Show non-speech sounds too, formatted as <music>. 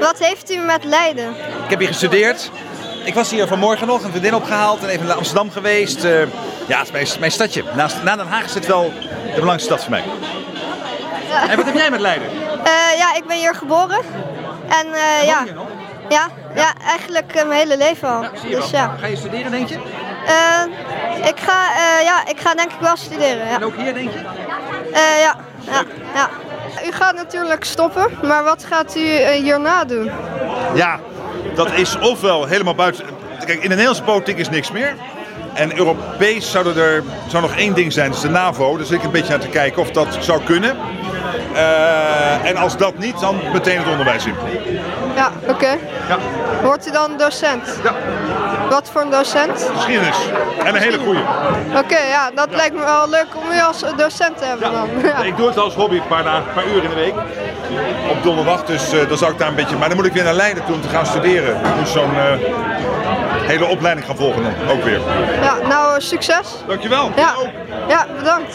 Wat heeft u met Leiden? Ik heb hier gestudeerd. Ik was hier vanmorgen nog, een vriendin opgehaald en even naar Amsterdam geweest. Eh, ja, het is mijn, mijn stadje. Naast, na Den Haag is het wel de belangrijkste stad voor mij. En wat heb jij met Leiden? Eh, ja, ik ben hier geboren. En eh, ja. Woon je nog? Ja, ja, eigenlijk eh, mijn hele leven al. Ja, zie je wel. dus ja. Ga je studeren, denk je? Eh, ik, ga, eh, ja, ik ga denk ik wel studeren. Ja. En ook hier, denk je? Eh, ja. Ja. ja. U gaat natuurlijk stoppen, maar wat gaat u eh, hierna doen? Ja, dat is ofwel helemaal buiten. Kijk, in de Nederlandse politiek is niks meer. En Europees zou er zou nog één ding zijn, dat is de NAVO. Daar zit ik een beetje aan te kijken of dat zou kunnen. Eh, en als dat niet, dan meteen het onderwijs in. Ja, oké. Ja. Wordt u dan docent? Ja. Wat voor een docent? Geschiedenis. En een hele goede. Oké, ja, dat lijkt me wel leuk om u als eh, docent te hebben dan. <laughs> Ja. Ik doe het als hobby een paar, dagen, een paar uur in de week. Op donderdag, dus eh, dan zou ik daar een beetje. Maar dan moet ik weer naar Leiden toe om te gaan studeren. Ik moet zo'n eh, hele opleiding gaan volgen dan ook weer. Ja, nou, eh, succes. Dankjewel. Ja, ja bedankt.